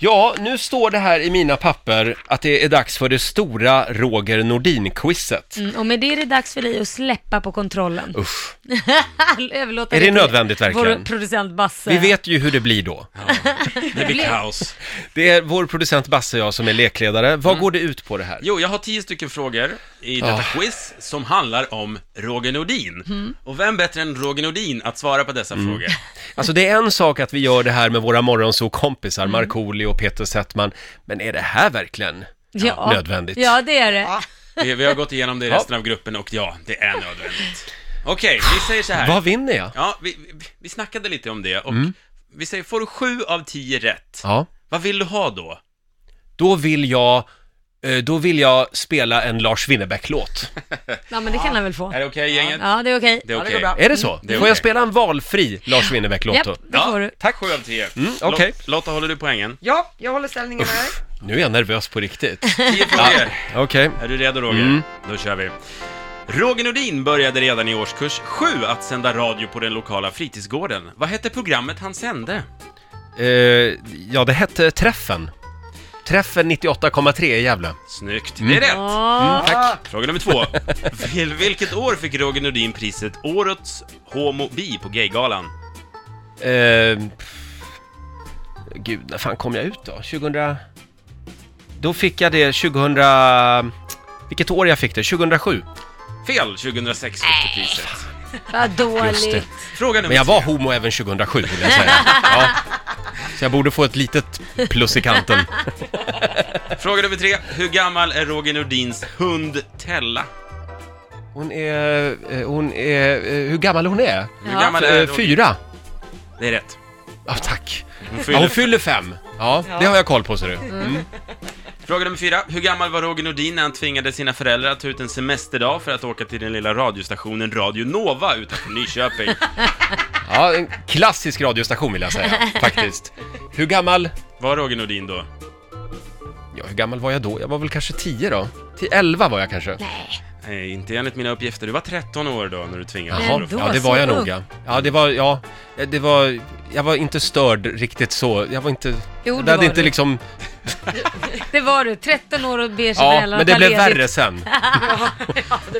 Ja, nu står det här i mina papper att det är dags för det stora Roger Nordin-quizet. Mm, och med det är det dags för dig att släppa på kontrollen. Usch, Överlåta är det till nödvändigt verkligen? Vår producent Basse. Vi vet ju hur det blir då. Det blir kaos. Det är vår producent Basse och jag som är lekledare. Vad Mm. går det ut på det här? Jo, jag har tio stycken frågor i detta quiz som handlar om Roger Nordin. Mm. Och vem bättre än Roger Nordin att svara på dessa frågor? Alltså det är en sak att vi gör det här med våra morgonsokompisar, Mm. Markoolio och Peter Settman, men är det här verkligen ja. nödvändigt? Ja, det är det. Vi, vi har gått igenom det i resten av gruppen och ja, det är nödvändigt. Okej, vi säger så här. Vad vinner jag? Ja, vi, vi, vi snackade lite om det och vi säger, får du sju av tio rätt, Ja, vad vill du ha då? då vill jag, eh, då vill jag spela en Lars Winnerbäck-låt. Ja, men det kan han väl få. Är det okej gänget? Ja, det är okej. Det är okej. går bra. Är det Mm. så? Det är Får jag okej. spela en valfri Lars Winnerbäck-låt Japp, då? det får du. Tack. Sju av tio. Mm, okej. Lotta, håller du poängen? Ja, jag håller ställningen här. Nu är jag nervös på riktigt. Tio frågor. Okej. Är du redo Roger? Mm. Då kör vi. Roger Nordin började redan i årskurs 7 att sända radio på den lokala fritidsgården. Vad hette programmet han sände? Eh, ja, det hette Träffen. Träffen 98,3 i Gävle. Snyggt, Mm. det är rätt! Ja. Fråga nummer två. Vil- vilket år fick Roger Nordin priset Årets Homo Bi på Gaygalan? Eh, pff. gud, när fan kom jag ut då? 2000... Då fick jag det 2000... Vilket år jag fick det? 2007? Fel, 2006 fick du priset. Vad Just det. dåligt. Fråga nummer Men jag var tre. homo även 2007, vill jag säga. Ja. Så jag borde få ett litet plus i kanten. Fråga nummer tre. Hur gammal är Roger Nordins hund Tella? Hon är... eh, Hon är... eh, Hur gammal hon är? Hur Ja. gammal är Eh, Roger? Fyra? Det är rätt. Ja, tack. Hon Ja, fyller... hon fyller fem. Ja, det har jag koll på, ser du. Mm. Fråga nummer fyra. Hur gammal var Roger Nordin när han tvingade sina föräldrar att ta ut en semesterdag för att åka till den lilla radiostationen Radio Nova utanför Nyköping? Ja, en klassisk radiostation vill jag säga, faktiskt. Hur gammal... Var Roger Nordin då? Ja, hur gammal var jag då? Jag var väl kanske 10 då? Till 11 var jag kanske. Nej, inte enligt mina uppgifter. Du var 13 år då när du tvingades. Jaha. Ändå, ja det så var jag ung. nog ja. Ja, det var, ja, det var, jag var inte störd riktigt så, jag var inte, Jo, jag det hade var inte du. liksom, Det var du. 13 år och ber sig ja, väl att men det ta blev ledigt. värre sen.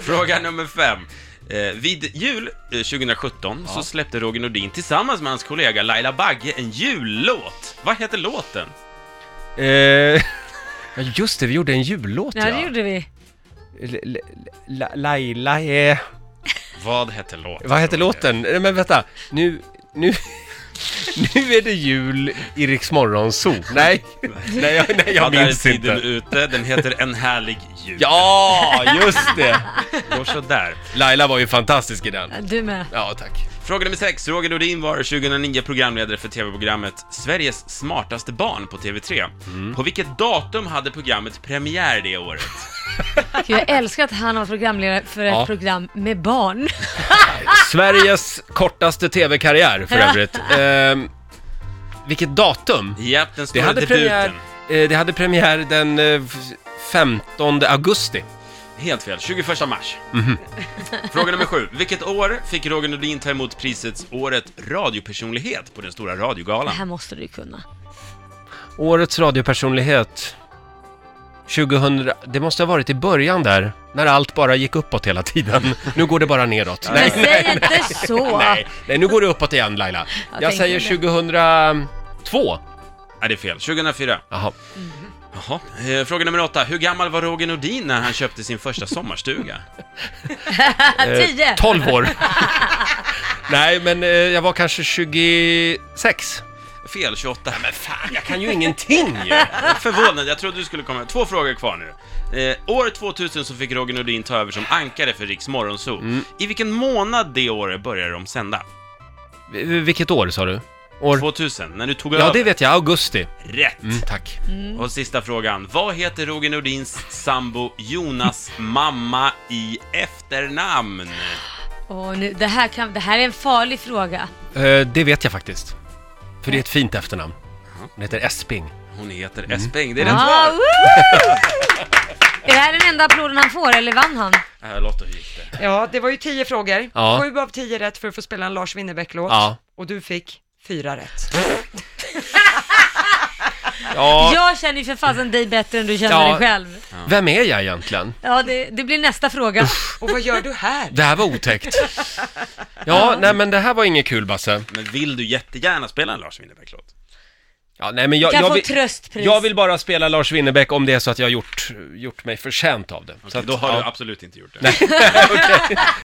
Fråga nummer fem. Eh, vid jul eh, 2017 så släppte Roger Nordin tillsammans med hans kollega Laila Bagge en jullåt. Vad heter låten? Eh, Ja, just det, vi gjorde en jullåt Ja, det gjorde vi. L- l- la- Laila är... Vad hette låten? Vad hette Roger? låten? Eh, Men vänta, nu, nu, nu är det jul i Rix Morgon Zoo. Nej, nej, jag, nej, Ja, jag där är minns tiden inte. ute. Den heter En härlig jul. Ja, just det! Går sådär. Laila var ju fantastisk i den. Du med. Ja, tack. Fråga nummer 6. Roger Nordin var 2009 programledare för TV-programmet Sveriges smartaste barn på TV3. Mm. På vilket datum hade programmet premiär det året? Gud, jag älskar att han var programledare för ett Ja. program med barn. Sveriges kortaste tv-karriär för övrigt. Ehm, vilket datum? Japp, den Det stora hade, debuten. premiär, eh, det hade premiär den eh, f- 15 augusti. Helt fel. 21 mars. Mhm. Fråga nummer 7. Vilket år fick Roger Nordin ta emot priset Året radiopersonlighet på den stora Det radiogalan? här måste du kunna. Årets radiopersonlighet 2000, det måste ha varit i början där, när allt bara gick uppåt hela tiden. Nu går det bara neråt. Men Nej, säg inte så! nej, nej, nu går det uppåt igen Laila. Jag Jag tänkte säger 2002. Nej, det är fel. 2004. Jaha. Jaha. Eh, Fråga nummer 8. Hur gammal var Roger Nordin när han köpte sin första sommarstuga? Eh, Tio. 12 år. Nej, men eh, jag var kanske 26. Fel. 28. men fan, Jag kan ju ingenting ju. Jag är förvånad, jag trodde du skulle komma. Två frågor kvar nu. Eh, år 2000 så fick Roger Nordin ta över som ankare för Riks Morgonzoo. Mm. I vilken månad det året började de sända? V- Vilket år sa du? År? 2000, när du tog Ja, över. det vet jag. Augusti. Rätt! Mm, tack. Och sista frågan. Vad heter Roger Nordins sambo Jonas mamma i efternamn? Åh, nu, det, här kan, det här är en farlig fråga. Eh, det vet jag faktiskt. För det är ett fint efternamn. Hon heter Esping. Hon heter Mm. Esping, det är rätt Ah, svar! woo! är det här den enda applåden han får, eller vann han? Äh, Lotta, hur gick det? Ja, det var ju tio frågor. Ja. Sju av tio rätt för att få spela en Lars Winnerbäck-låt. Ja. Och du fick fyra rätt. Ja, Jag känner ju för fasen dig bättre än du känner Ja. dig själv. vem är jag egentligen? Ja, det, det blir nästa fråga. Och vad gör du här? Det här var otäckt. Ja, nej men det här var inget kul Basse. Men vill du jättegärna spela en Lars Winnerbäck-låt? Ja, nej, men jag, Kan jag, få vill, tröstpris. jag vill bara spela Lars Winnerbäck om det är så att jag har gjort, gjort mig förtjänt av det. så Okej, att, då har ja. du absolut inte gjort det.